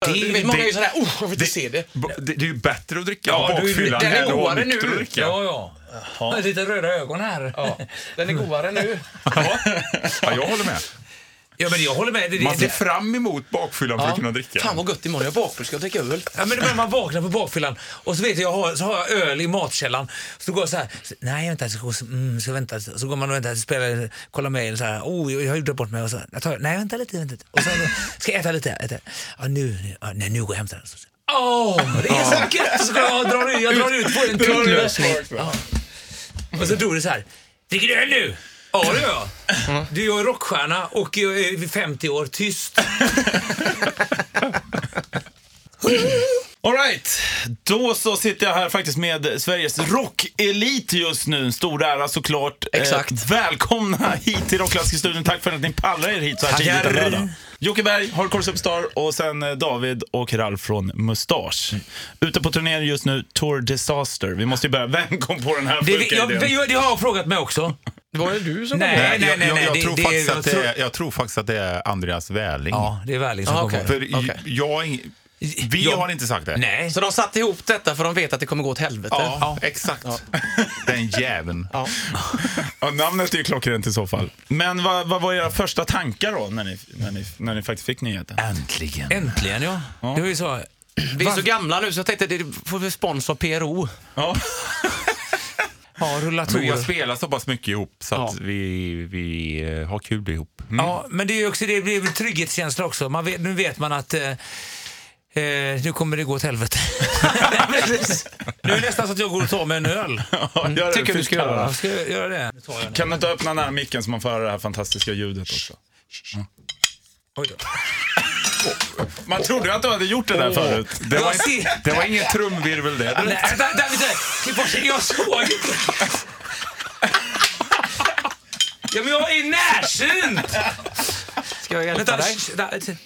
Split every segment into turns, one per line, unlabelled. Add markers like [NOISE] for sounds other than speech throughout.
Det är, många är ju sådär, usch, jag vill inte se det.
B- Det, det är ju bättre att dricka
Ja,
på
du är
bakfyllan
nykter.
än att vara
Godare nu.
nykter och dricka.
Ja, ja. Jag har Lite röda ögon här.
Ja, den är godare nu.
Ja, jag håller med.
Ja, men jag håller med. Det, det,
Man ser
det,
fram emot bakfyllan för att kunna dricka.
Fan vad gött imorgon, jag är bakfull, ska jag dricka öl?
ja, men det börjar man vaknar på bakfyllan och så vet jag, jag har, så har jag öl i matkällan. Så går jag så här, nej vänta, så, mm, så, vänta. så går man och väntar, så spelar, kollar mejl så här, oh, jag jag har gjort bort mig. Och så, jag tar, nej vänta lite, vänta. lite. Och så ska jag äta lite, äta. Ja, nu, ja, nej, nu går jag och hämtar den. Så- Åh, det är så gött! Så går jag och drar ut, jag drar ut, får en
Drar ut.
tunnlös. Ja. Och så drog det så här. Dricker du öl nu? Ja, det gör
Mm.
jag. Du, jag är rockstjärna och jag är vid 50 år, tyst.
Alright, då så sitter jag här faktiskt med Sveriges rockelit just nu. En stor ära såklart.
Exakt.
Eh, välkomna hit till Rockklassikerstudion. Tack för att ni pallar er hit så här tidigt
Tackar.
en lördag. Jocke Berg, Hardcore Superstar och sen eh, David och Ralf från Mustasch. Ute på turné just nu, Tour Disaster. Vi måste ju börja. Vem kom på den här
Det,
sjuka
jag,
idén?
det, det har jag frågat mig också.
Det var ju du som
Nej.
var med.
Nej, jag, jag, jag,
det-
tror
det-
faktiskt
jag
att det
tror-
är, jag tror faktiskt att det är Andreas Väling.
Ja, det är liksom Välling som
Ja,
kom
okej.
på det.
För j-
Okej.
jag har ing- vi
Jag-
har inte sagt det.
Nej.
Så de satte ihop detta för de vet att det kommer gå åt helvete.
Ja, exakt. [LAUGHS] Den jäveln.
Ja.
Ja, namnet är ju klockrent i så fall. Men vad, vad var era första tankar då när ni, när ni, när ni faktiskt fick nyheten?
Äntligen.
Äntligen ja. Det var ju så.
Vi är så
Varför-
gamla nu så jag tänkte, det får vi spons av PRO.
Ja.
Ja,
Vi har
rullatorer.
spelat så pass mycket ihop så att
Ja.
vi, vi eh, har kul ihop.
Ja, men det är ju också det blir väl trygghetskänsla också. Man vet, nu vet man att eh, eh, nu kommer det gå åt helvete. Precis. nu är det nästan så att jag går och tar mig en öl.
Gör det,
Mm. Tycker du
fy
ska
fan.
göra.
Ja, ska jag göra det? Nu tar jag den.
Kan du inte öppna den här micken så man får höra det här fantastiska ljudet också?
Oj då.
Man trodde ju att du hade gjort det där förut.
Det var,
Jag
inte,
ser-
det var ingen trumvirvel det.
Nej, vänta, vänta, vänta. Klipp bort det. Jag såg inte. Ja, men jag är närsynt!
Ska jag hjälpa
Vänta,
dig?
sh- vänta.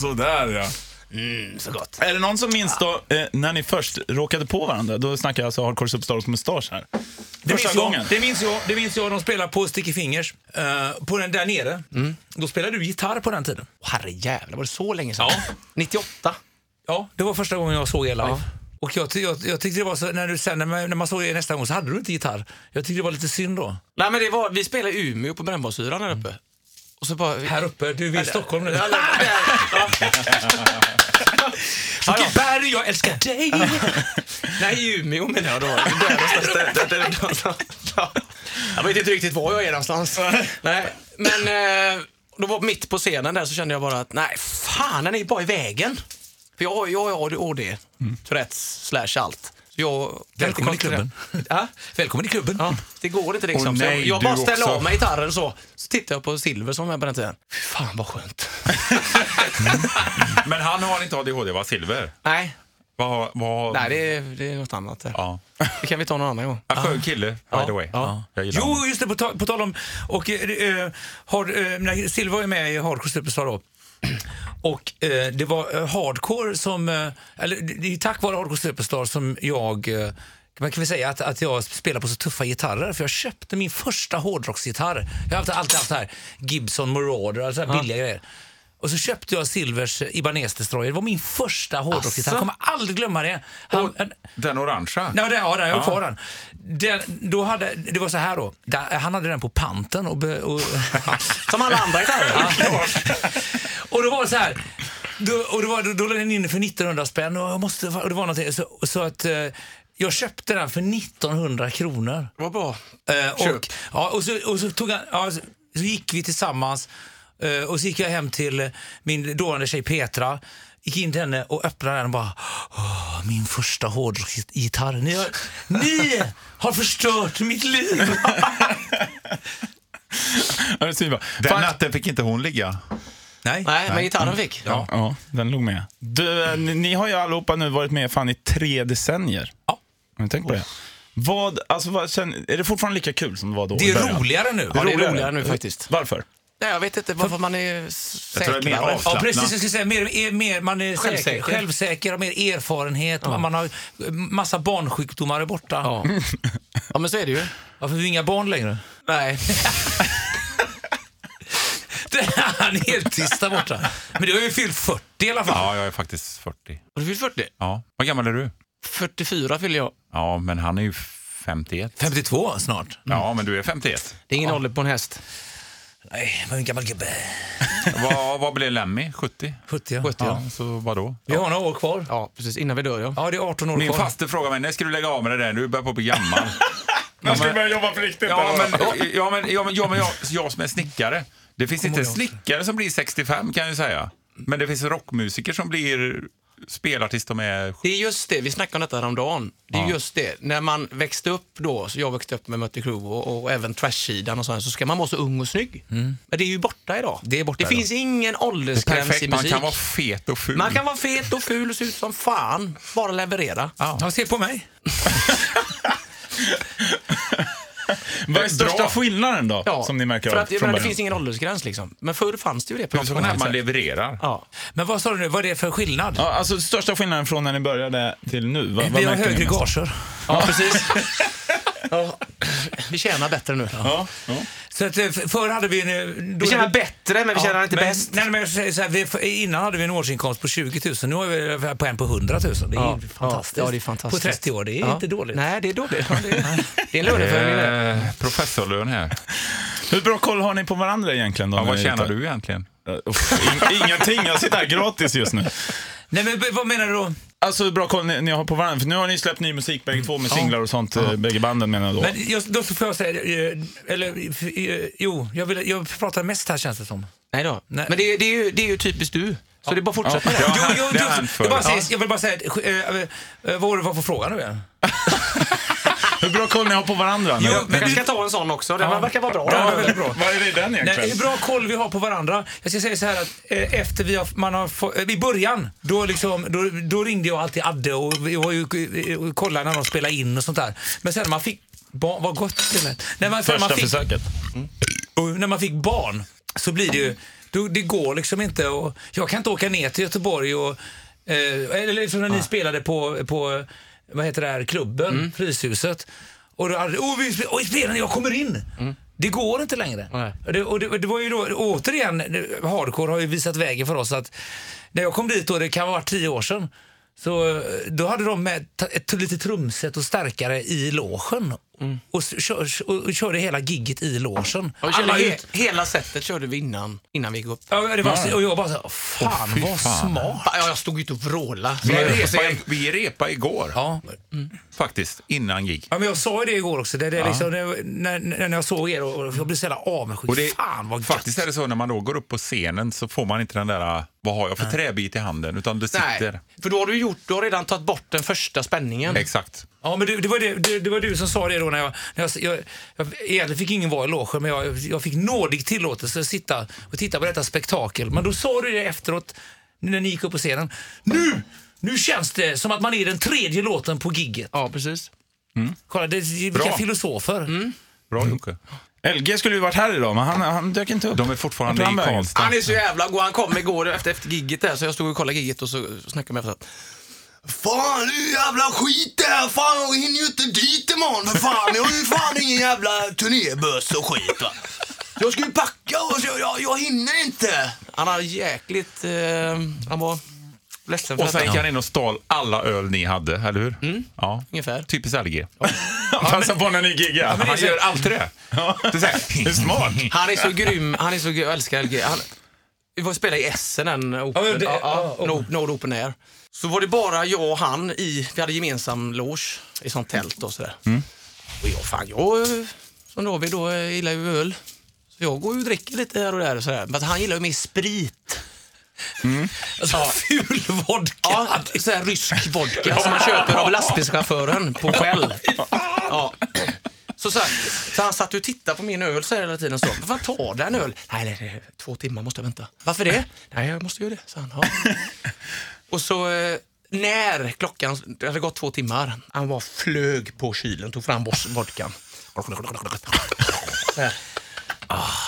Sådär ja.
Mm, Så gott.
Är det någon som minns då eh, när ni först råkade på varandra? Då snackar jag alltså Hardcore Superstar och Mustasch här.
Det minns,
Första
jag,
gången.
det, minns jag, det minns jag. De spelade på Sticky Fingers. eh, på den där nere. Då spelade du gitarr på den tiden.
Åh, herrejävlar, var det så länge sedan?
Ja.
98?
Ja, det var första gången jag såg er live. Och jag, ty- jag, jag tyckte det var så, när, du, sen, när, man, när man såg er nästa gång så hade du inte gitarr. Jag tyckte det var lite synd då.
Nej men det var, vi spelade i Umeå på Brännbollsyran här uppe. Och så bara...
Här uppe, du är i Stockholm nu.
Ja, där- där. Ja.
Jocke [LAUGHS] Berg, jag älskar dig!
[LAUGHS] Nej, i Umeå menar jag då. Det är där någonstans, där- där- där någonstans. Ja. Jag vet inte riktigt var jag är någonstans. Nej, men eh, då var mitt på scenen där så kände jag bara att nej, fan den är ju bara i vägen. För jag har jag har ADHD,
Mm.
Tourettes, slash allt. Så jag,
Välkommen i klubben.
Ja,
Välkommen i klubben.
ja, det går inte liksom.
Åh, nej,
så jag, jag
du
bara ställer
också.
av mig gitarren så. Så tittar jag på Silver som var med på den tiden. Fy fan vad skönt.
Men han har inte ADHD, va? Silver?
nej,
Vad, vad,
nej det, är, det är något annat. där.
Ja.
Det kan vi ta någon annan gång.
En skön kille, by the way.
Ja.
Jag gillar
Jo,
honom.
just det, på, ta- på tal om... Och, eh, det, eh, har, eh, när Silva är med i Hardcore Superstar då. [CLEARS THROAT] Och eh, det var eh, Hardcore som... Eh, eller det det är ju tack vare Hardcore Superstar som jag... Eh, man kan väl säga att, att jag spelar på så tuffa gitarrer för jag köpte min första hårdrocksgitarr. Jag har alltid, alltid haft så här Gibson Marauder, alltså här billiga grejer. Och så köpte jag Silvers eh, Ibanez Destroyer. Det var min första hårdrocksgitarr. Jag
Asså?
kommer aldrig glömma det. Han, en-
Den orangea.
Nej, det, ja, den, jag har kvar den. den då hade, det var så här då, där, han hade den på panten och... Be, och
[LAUGHS] Som alla andra gitarrer.
[LAUGHS] och då var det så här. Då, och då, var, då, då lade den inne för 1900 spänn och, jag måste, och det var någonting. Så, så att eh, jag köpte den för 1900 kronor.
Vad bra.
Eh,
Köp.
och, ja, och, så, och så tog han, ja, så, så gick vi tillsammans eh, och så gick jag hem till eh, min dåvarande tjej Petra. Gick in till henne och öppnade den och bara Åh, min första hårdrocksgitarr. Ni har, ni har förstört mitt
[LAUGHS]
liv.
Ja, det ser ju bra.
Den
Fan,
natten fick inte hon ligga.
Nej.
Nej, men gitarren fick.
Ja. ja, den låg med. Du, eh, ni, ni har ju allihopa nu varit med fan i tre decennier.
Ja.
Har ni tänkt på det? Vad, alltså, vad, känner, är det fortfarande lika kul som det var då?
Det
i
är
början?
roligare nu.
Ja, det är roligare nu faktiskt.
Varför?
Nej, jag vet inte varför man är
Jag tror det är mer
säkrare.
avslappnat.
Ja, precis. Jag skulle säga, mer, är- mer, man är självsäker.
Självsäker.
Säker, självsäker och mer erfarenhet. Man har massa barnsjukdomar är borta.
Ja. ja, men så är det ju. [LAUGHS]
Varför är vi inga barn längre?
Nej.
Det här Planetsist där borta. Men du har ju fyllt 40 i alla fall.
Ja, jag är faktiskt 40.
Har du fyllt 40?
Ja. Vad gammal är du?
44 fyller jag.
Ja, men han är ju 51.
52 snart.
Ja, men du är 51.
Det är ingen ålder på en häst.
Nej, men en gammal gubbe.
Vad, vad blir Lemmy? 70?
70, ja.
70,
Ja, så vadå?
Vi har några år kvar.
Ja, precis. Innan vi dör, ja.
Ja, det är 18 år
Min
kvar.
faster frågar mig, när ska du lägga av med det där? Du börjar på att bli [LAUGHS] gammal.
Nu ska vi börja jobba på riktigt.
Ja, men, ja, men, ja, men, ja, men jag, jag som är snickare. Det finns inte
ihåg det.
snickare som blir 65 kan jag ju säga. Men det finns rockmusiker som blir spelar tills de är...
Det är just det, vi snackade om detta häromdagen. Det är just det, när man växte upp då, så jag växte upp med Mötley Crüe och, och även Trash-sidan och sådär, så ska man vara så ung och snygg. Men det är ju borta idag.
Det är borta idag.
finns ingen åldersgräns i
Perfekt, man
musik.
kan vara fet och ful.
man kan vara fet och ful och se ut som fan, bara leverera.
Ja, se på mig.
Vad är största
Bra.
skillnaden då, som ni märker
för
av
att, jag
från
menar, Det
början?
finns ingen åldersgräns liksom. Men förr fanns det ju det på
Huvudsaken är att man levererar.
Ja.
Men vad sa du nu, vad är det för skillnad?
Ja, alltså största skillnaden från när ni började till nu? Vad, vad
Vi har
märker ni
högre
mest?
gager.
ja, precis. ja. [LAUGHS] Vi tjänar bättre nu.
Ja, ja.
Så att, eh, f- förr hade vi... en, eh, Då
Vi tjänar bättre, men vi tjänar inte
men,
bäst.
Nej, men jag säger så här, vi, för- innan hade vi en årsinkomst på 20 000. Nu har vi ungefär på en på 100 000. Det är
Ja,
ju fantastiskt.
ja, det är fantastiskt.
På 30 år, det är
Ja.
inte dåligt.
Nej, det är dåligt. Ja, det, är, det är en löneförhöjning det.
Eh, professorlön här.
Hur bra koll har ni på varandra egentligen? Då,
Ja,
när
vad
ni
tjänar
ritar?
du egentligen?
Eh, uff,
[LAUGHS]
in- Ingenting, jag sitter här gratis just nu.
Nej, men b- vad menar du då?
Alltså hur bra koll ni, ni har på varandra, för nu har ni släppt ny musik bägge två med singlar och sånt, ja. bägge banden menar jag då.
Men just, då får jag säga, eh, eller f- eh, jo, jag, vill, jag pratar mest här känns det som.
Nej då.
Nej.
Men det är, det, är ju, det är ju typiskt du. Så det är bara att fortsätta med
Ja.
det.
Jo, jo,
det är
jo,
han för.
jag, bara säger, jag vill bara säga, att, eh, eh, vad var det var för fråga nu igen?
Hur bra koll ni har på varandra?
Jo,
Nu-
men jag ska ta en sån också. Den verkar vara bra.
Ja, det var väldigt bra.
Vad är det i den
Nej, hur
egentligen?
bra koll vi har på varandra. Jag ska säga så här att eh, efter vi har, man har få, eh, i början, då, liksom, då, då ringde jag alltid Adde och vi var ju, eh, och kollade när de spelade in och sånt där. Men sen när man fick barn, vad gott det lät. När man, sen när
Första
man, fick,
försöket.
och när man fick barn så blir det ju, då, det går liksom inte och jag kan inte åka ner till Göteborg och, eh, eller som när ni spelade på, på, vad heter det här, klubben, Fryshuset. Och då hade, oh, vi spel, oj spelarna, jag kommer in! Det går inte längre.
Nej.
Och det, och det, det var ju då, återigen, det- hardcore har ju visat vägen för oss att när jag kom dit då, det kan ha varit tio år sedan, så eh, då hade de med ta- ett, lite trumset och starkare i logen och, s- kör, och, och körde hela gigget i logen.
Och körde
Alla
he,
ut.
hela setet körde vi innan, innan vi gick upp.
Ja, det var, och jag bara så, fan
fy
vad
fan.
smart.
Ja, jag stod ju inte och vrålade.
Vi
Så-
repade, vi repa igår,
Ja.
faktiskt, innan gig.
ja, men jag sa ju det igår också. Det, det, är liksom, det, när, när jag såg er och, och jag blev så jävla avundsjuk.
Och det,
fan vad gött.
faktiskt är det så när man då går upp på scenen så får man inte den där, eh, vad har jag för träbit i handen, utan det sitter.
Nej, för då har du, gjort, du har redan tagit bort den första spänningen.
Exakt.
Ja, men det, det, var det, det, det var du som sa det då när jag... När jag, jag, jag egentligen fick ingen vara i logen, men jag, jag fick nådig tillåtelse att sitta och titta på detta spektakel. Men då sa du det efteråt, när ni gick upp på scenen. Nu! Nu känns det som att man är den tredje låten på gigget.
Ja, precis.
Kolla, det, vilka
Bra. Mm.
filosofer.
Bra Jocke.
LG skulle ju varit här idag, men han, han dök inte upp.
De är fortfarande
Vart tog
i
han vägen? [LAUGHS]
Karlstad.
Han är så jävla god. Han kom igår efter, efter gigget där, så jag stod och kollade gigget och så snackade med efteråt. Fan, du jävla skit där. Fan, jag hinner ju inte dit imorgon för fan. Jag har ju fan ingen jävla turnébuss och skit va. Jag ska ju packa och så, jag, jag hinner inte. Han har jäkligt... Eh, han var ledsen för
Och sen gick
detta.
han in och stal alla öl ni hade, eller hur? Ja.
Ungefär.
Typiskt LG.
Han passar på när ni giggar.
Han gör alltid det. Det är så här,
Det är smart.
Han är så grym. Han är så grym. Jag älskar LG. Han, vi var och spelade i Essen, en open,
Ja,
ja,
det-
ja,
ja,
Nord, Nord Open Air. Så var det bara jag och han i, vi hade gemensam loge i sånt tält och sådär. Och jag, fan jag, eh, som David då, eh, gillar ju öl. Så jag går ju och dricker lite här och där och sådär. Men han gillar ju mer sprit. [LAUGHS]
Alltså, ful vodka.
Ja, sådär rysk vodka som man köper av lastbilschauffören på Shell. Ja. Så, så, här, så han satt och tittade på min öl så här hela tiden. Så, "Men Vad fan, ta den öl. Nej, nej, nej, två timmar måste jag vänta. Varför det? Nej, jag måste göra det, sa han. Ja. Och så eh, när klockan, det hade gått två timmar, han var flög på kylen, tog fram bos- vodkan. Så här.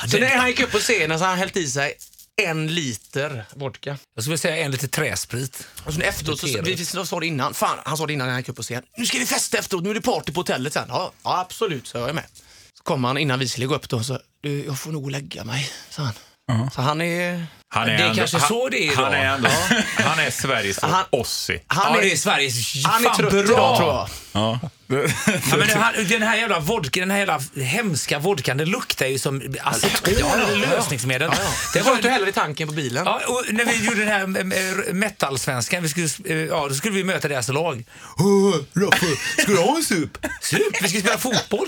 Så när han gick upp på scenen så hade han hällt i sig en liter vodka.
Jag skulle säga en lite träsprit.
Och sen Alltså, efteråt, så, vi, vi sa det innan, fan han sa det innan när han gick upp på scen. Nu ska vi festa efteråt, nu är det party på hotellet sen. Ja, ja absolut, så jag är med. Så kom han innan vi skulle gå upp då, så du, jag får nog lägga mig, sa han. Så han är...
[LAUGHS] Han
Det är kanske så det är
han, han
idag.
är ändå, han är Sveriges
Han-
Ossi.
Han
ja,
är,
det är Sveriges
han är
fan
trött
bra.
idag, tror jag.
Ja.
Ja, men den, här, den här jävla vodka, den här jävla hemska vodkan, den luktar ju som aceton, eller lösningsmedel.
Det
Det
var inte
var,
heller i tanken på bilen.
ja, och när vi gjorde den här eh, metal-svenskan, vi skulle, eh, ja, då skulle vi möta deras lag. Åh, Raffe, ska du ha en sup? Sup? Vi ska spela fotboll.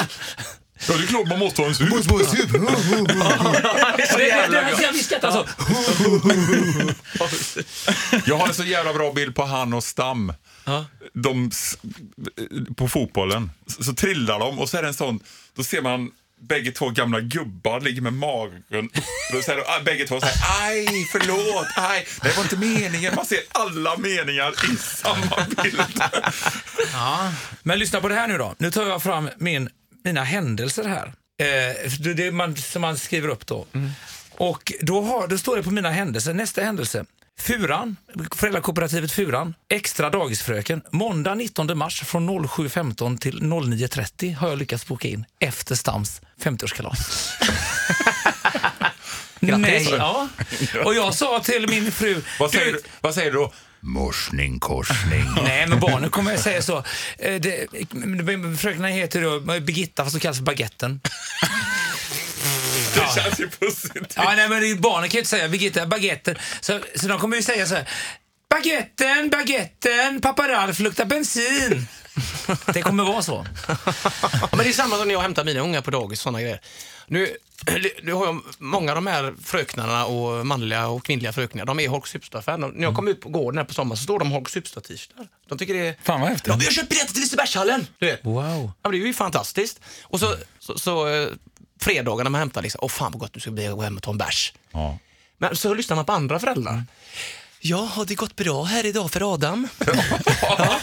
Ja, det är klart man måste ha en sup.
det är så
Det är
jävla
det
gott.
här vi skrattar så.
Jag har en så jävla bra bild på han och Stam. De, s- på fotbollen. Så, så trillar de och så är det en sån, då ser man bägge två gamla gubbar ligger med magen uppe. och så är det- ah, Bägge två säger aj, förlåt, aj, det var inte meningen. Man ser alla meningar i samma bild.
Men lyssna på det här nu då. Nu tar jag fram min, mina händelser här. Eh, det, det man, som man skriver upp då.
Mm.
Och då, har, då står det på mina händelser, nästa händelse. Furan, föräldrakooperativet Furan, extra dagisfröken. Måndag 19 mars från 07.15 till 09.30 har jag lyckats boka in efter Stams
[LAUGHS]
50-årskalas. Nej, ja. Och jag sa till min fru...
Vad säger, du, vad säger du då? Morsning, korsning.
Nej, men barnen kommer att säga så. Eh, det- men Fröknarna heter då eh, Birgitta, fast de kallas för Baguetten.
Det känns ju positivt.
Ja, nej, men det är- barnen kan ju inte säga Birgitta, Baguetten. Så, så de kommer ju säga så här. Baguetten, Baguetten, pappa Ralf luktar bensin. Det kommer vara så.
Ja, men det är samma som när jag hämtar mina ungar på dagis, sådana grejer. Nu, [CLEARS THROAT] nu har jag många av de här fröknarna och manliga och kvinnliga fröknar, de är Holks Hupstad-fan. De- När jag
Mm.
kom ut på gården här på sommaren så står de Holks Hupstad-t-shirtar. De tycker det är...
Fan vad häftigt.
Ja, vi har köpt biljetter till Lisebergshallen! Du vet.
Wow.
Ja, men det är ju fantastiskt. Och så, så, så eh, fredagar när man hämtar liksom, åh fan vad gott nu ska det bli att gå hem och ta en bärs.
Ja.
Men så lyssnar man på andra föräldrar. Ja, har det gått bra här idag för Adam? ja.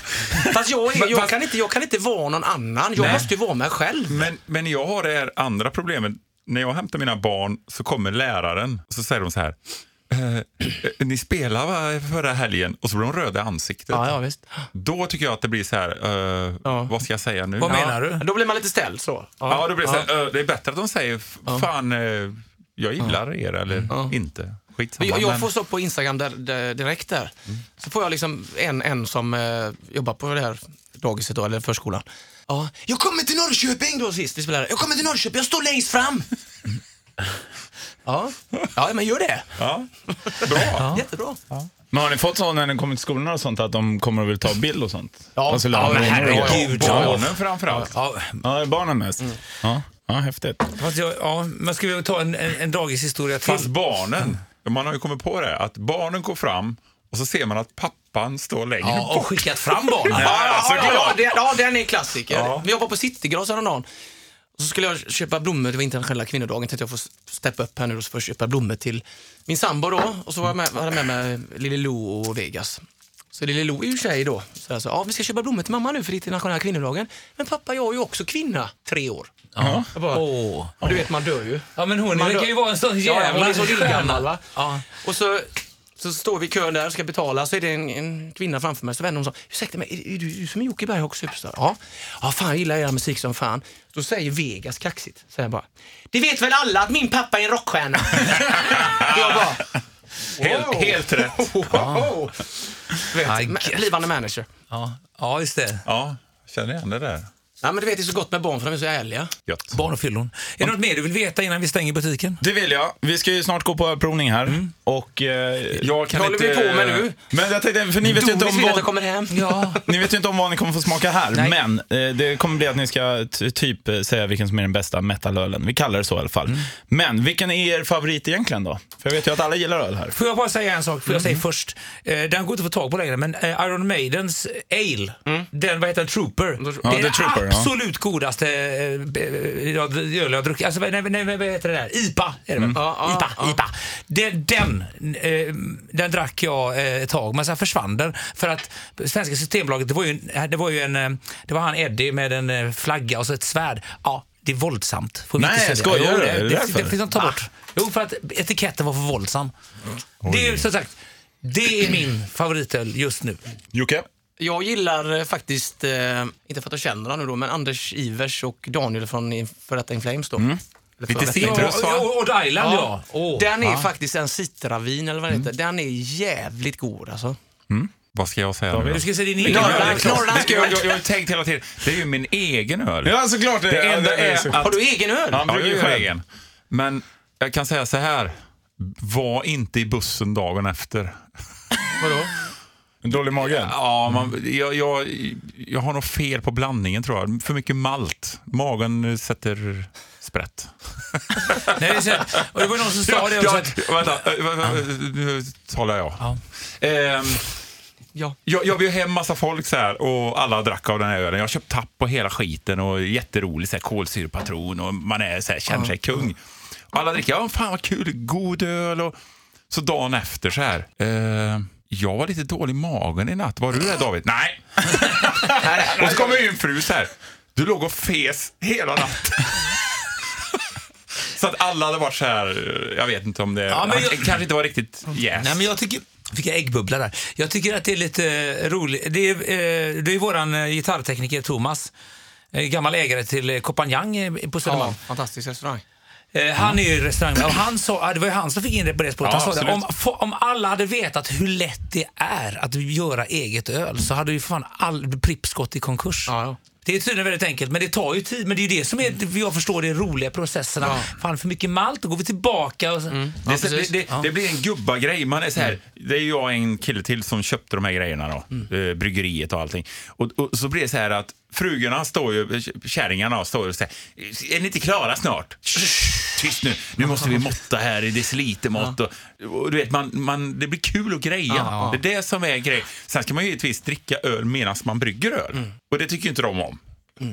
Fast jag, är, jag, kan inte, jag kan inte vara någon annan, jag måste ju vara mig själv.
Men, men jag har det här andra problemet. När jag hämtar mina barn så kommer läraren och så säger de så här. "Eh, eh, ni spelade va, förra helgen och så blir de röda i ansiktet.
Ja, ja, visst.
Då tycker jag att det blir så här, eh, vad ska jag säga nu?
Vad
ja.
menar du?
Då blir man lite ställd så.
Ja, då blir det, så här, eh, det är bättre att de säger, fan, eh, jag gillar er eller inte. Skitsamma.
Men jag, jag
men-
får så på Instagram där, där, direkt där.
Mm.
Så får jag liksom en, en som eh, jobbar på det här dagiset då, eller förskolan. Ja. Jag kommer till Norrköping då sist vi spelade. Jag kommer till Norrköping, jag står längst fram.
Mm.
ja. ja, men gör det.
ja. Bra.
[LAUGHS] Jättebra.
Men har ni fått så när ni kommer till skolan och sånt att de kommer och vill ta bild och sånt?
Ja.
Alltså, lärare
Ja, men
och honor och-
herregud.
Barnen framförallt.
Ja,
Ja, det är barnen mest. Ja. ja, häftigt.
fast jag, ja, men ska vi ta en, en, en dagishistoria till?
Fast barnen, man har ju kommit på det, att barnen går fram och så ser man att pappan står längre bort.
ja, och skickat fram barnen.
[LAUGHS] Ja,
Ja,
såklart.
ja, det, ja, den är en klassiker.
Ja.
Vi var på Citygross häromdagen. Och så skulle jag köpa blommor, det var internationella kvinnodagen, tänkte jag får steppa upp här nu och så får jag köpa blommor till min sambo då. Och så var jag med, hade jag med mig Lille Lo och Vegas. Så Lille Lo är ju tjej då. Så jag sa, ja vi ska köpa blommor till mamma nu för det är internationella kvinnodagen. Men pappa, jag är ju också kvinna, tre år.
Ja.
Jag bara,
Åh.
och du vet man dör ju.
Ja, men hon
Man
verkar
dör-
ju vara en sån
Ja, ja, hon
jävla
är så lillgammal va?
Ja.
Och så, så står vi i kön där och ska betala, så är det en, en kvinna framför mig, så vänder hon sig om. Ursäkta mig, är, är du, är du som är Jocke Berghag Superstar? Ja. Ja, fan jag gillar er musik som fan. Då säger Vegas kaxigt, säger jag bara. Det vet väl alla att min pappa är en rockstjärna? [LAUGHS] jag bara,
Helt, helt rätt.
wow. Vet,
Aj,
ma-
gud.
blivande manager.
Ja. ja, just det.
Ja, känner igen det där.
Ja, men du vet, det är så gott med barn för de är så ärliga.
Gött.
Barn och fyllon. Är det något mer du vill veta innan vi stänger butiken?
Det vill jag. Vi ska ju snart gå på provning här. Och, eh,
Jag kan
Vad håller
inte...
vi på med nu?
men jag tänkte, för ni vet ju inte
Doris
om
vill att jag
vad...
kommer hem.
Ja.
Ni vet ju inte om vad ni kommer få smaka här,
Nej.
men eh, det kommer bli att ni ska t- typ eh, säga vilken som är den bästa metalölen. Vi kallar det så i alla fall. Men vilken är er favorit egentligen då? För jag vet ju att alla gillar öl här.
Får jag bara säga en sak? Får jag säga först? Eh, den går inte att få tag på längre, men eh, Iron Maidens eh, Ale, den vad heter den? Trooper.
Ja,
det är
The
den
Trooper, ja.
absolut godaste eh, b- eh, jag- öl jag har druckit. Alltså, nej, nej, vad heter det där? IPA är det väl?
Ja, ja,
IPA,
ja.
IPA. Det, den, eh, den drack jag eh, ett tag, men sen försvann den. För att svenska systembolaget, det var ju, en- det var ju en, eh, det var han Eddie med en eh, flagga och så ett svärd. Ja, det är våldsamt. Får vi
Nej,
inte säga
skojar
Jo,
du?
Det,
Är det
det, det,
därför?
det finns de tar bort. Jo, för att etiketten var för våldsam. Det är ju som sagt, det är min favoritöl just nu.
Jocke?
Jag gillar eh, faktiskt, eh, inte för att jag känner honom nu då, men Anders Ivers och Daniel från In- för detta In Flames då.
Lite
Ja,
citrus va?
och, och Island ja. Åh.
Den är faktiskt en citravin eller vad det heter. Den är jävligt god alltså.
Vad ska jag säga nu då?
Du ska se din
Ja,
egen.
ja,
Det är klart.
Norrlands
Det ska jag,
guld.
jag, jag har tänkt hela tiden, det är ju min egen öl.
Ja, såklart.
Det enda är att...
Har du egen öl?
Han
Ja,
brygger
jag
ju
gör
själv.
egen. Men jag kan säga så här, var inte i bussen dagen efter.
Vadå?
En dålig mage?
Ja, man, Mm. jag, jag, jag har nog fel på blandningen tror jag. För mycket malt. Magen eh, sätter sprätt.
Nej, det är så här. och det var någon som sa det också.
jag,
Att,
vänta, eh, vänta, eh, nu talar jag.
Ja.
Ehm,
Ja.
jag, jag bjöd hem massa folk så här och alla drack av den här ölen. Jag har köpt tapp på hela skiten och jätterolig så här, kolsyrepatron och man är, så här, känner sig kung. Och alla dricker, ja fan vad kul, god öl och så dagen efter så här. ehm, jag var lite dålig i magen i natt. Var du det David?
[LAUGHS]
Nej. och så kommer min fru så här. Du låg och fes hela natten. så att alla hade varit så här. Jag vet inte om det
Ja, men jag-
det kanske inte var riktigt jäst.
nej, men jag tycker... Fick jag äggbubbla där? Jag tycker att det är lite eh, roligt. Det är, eh, det är våran eh, gitarrtekniker Thomas, eh, gammal ägare till eh, Copanjang eh, på Södermalm.
Ja, fantastisk restaurang.
Eh, Han är ju restaurang och han sa, ah, det var ju han som fick in det på det spåret.
Ja,
han sa det, om,
absolut.
få- om alla hade vetat hur lätt det är att göra eget öl så hade ju fan all Pripps gått i konkurs.
Ja, ja.
Det är tydligen väldigt enkelt, men det tar ju tid. Men det är ju det som är, jag förstår, det roliga i processerna. Fan, för mycket malt, då går vi tillbaka och så.
Det,
Ja, precis.
det, det, det blir en gubbagrej. Man är så
Mm.
här, Det är jag och en kille till som köpte de här grejerna då.
Mm.
Eh, bryggeriet och allting. Och, och så blir det så här att frugorna står ju, kärringarna står ju och säger Är ni inte klara snart? Shh, Tyst nu, nu måste vi måtta här i decilitermått. Och, och du vet, man, man, det blir kul att greja. Det är det som är grejen. Sen ska man ju givetvis dricka öl medan man brygger öl.
Mm.
Och det tycker ju inte de om.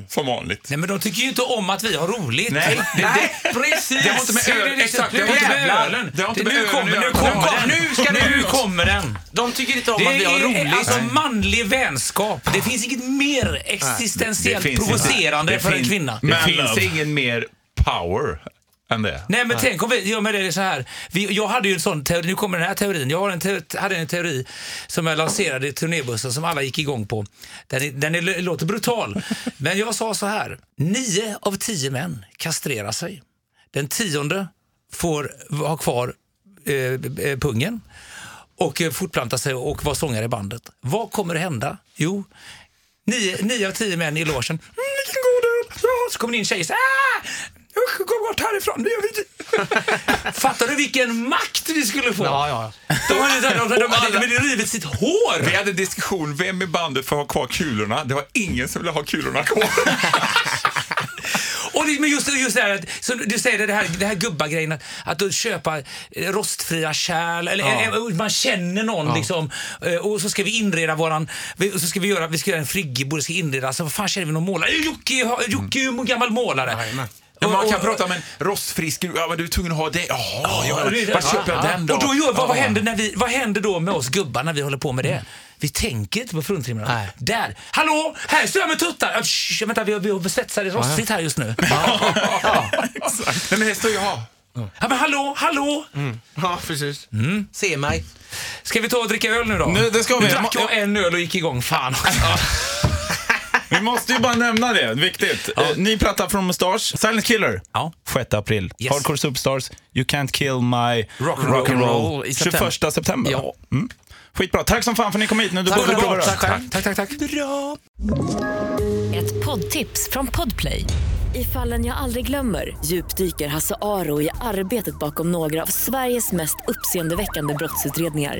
Som vanligt.
Nej, men de tycker ju inte om att vi har roligt.
Nej, det- det-
precis.
det har inte med öl-
det- det-
exakt, det
det
har inte med
jävlar.
ölen. Det har inte med
nu
ölen
kommer,
att
nu
göra.
kommer den.
Kom,
nu ska det
Nu
ut.
kommer den.
De tycker inte om
Det
att vi har
är
roligt.
alltså manlig vänskap. Det finns inget mer existentiellt
finns
provocerande
inte.
för
Det
en
finns-
kvinna.
Det
Man
finns
love.
ingen mer power än det.
Nej men tänk om vi gör med det så här. Vi, jag hade ju en sån teori, nu kommer den här teorin. Jag har en te- hade en teori som jag lanserade i turnébussen som alla gick igång på. Den, är, den är, låter brutal. Men jag sa så här. Nio av tio män kastrerar sig. Den tionde får ha kvar eh, eh, pungen och eh, fortplanta sig och vara sångare i bandet. Vad kommer hända? Jo, nio, nio av tio män i logen. Mm, vilken god öl! Ja, så kommer det in tjejer så här, ah! Usch, gå bort härifrån. Det gör vi inte." [LAUGHS] Fattar du vilken makt vi skulle få?
Ja, ja, ja.
De hade, de, de, de, de
alla-
hade rivit sitt hår.
Vi hade en diskussion, vem i bandet får ha kvar kulorna? Det var ingen som ville ha kulorna kvar.
Och det, men just, det- just det här, att- som du säger det här, det här gubbagrejen, att, att du köpa eh, rostfria kärl, eller eller- man känner någon liksom. eh, Och så ska vi inreda våran, vi- och så ska vi göra, vi ska göra en friggebod, det ska inredas. Så vad fan känner vi någon målare? Eh, Jocke, har- Jocke är ju gammal målare.
Ja, Mm. man kan
Och-
prata om en rostfri skruv, ja men du är tvungen att ha det. Jaha, ja,
Ja, det är det.
var köper jag
Ja, ja.
den då?
Och då gör, vad, vad,
Ja. Mm.
händer när vi, vad händer då med oss gubbar när vi håller på med det? Vi tänker inte på fruntimmerna.
Nej.
Där! Hallå! Här står jag med tuttar! Ja, shh, vänta, vi har, vi har svetsare rostfritt här just nu.
[LAUGHS]
[LAUGHS]
Ja, exakt. Nej men det står jag.
Ja, men hallå, hallå!
Ja, precis. Se mig.
Ska vi ta och dricka öl nu då?
Nu, det ska vi.
Nu drack jag en öl och gick igång. Fan också.
Vi måste ju bara nämna det, viktigt. Eh, Ny platta från Mustache, Silent Killer.
Ja.
6 april.
Yes.
Hardcore Superstars, You Can't Kill My
Rock and
Rock and
roll
Roll.
i
21 september.
Ja.
Mm. Skitbra. Tack som fan för att ni kom hit. Nu, du borde prova det.
själv. Tack, tack, tack. Bra.
Ett poddtips från Podplay. I fallen jag aldrig glömmer djupdyker Hasse Aro i arbetet bakom några av Sveriges mest uppseendeväckande brottsutredningar.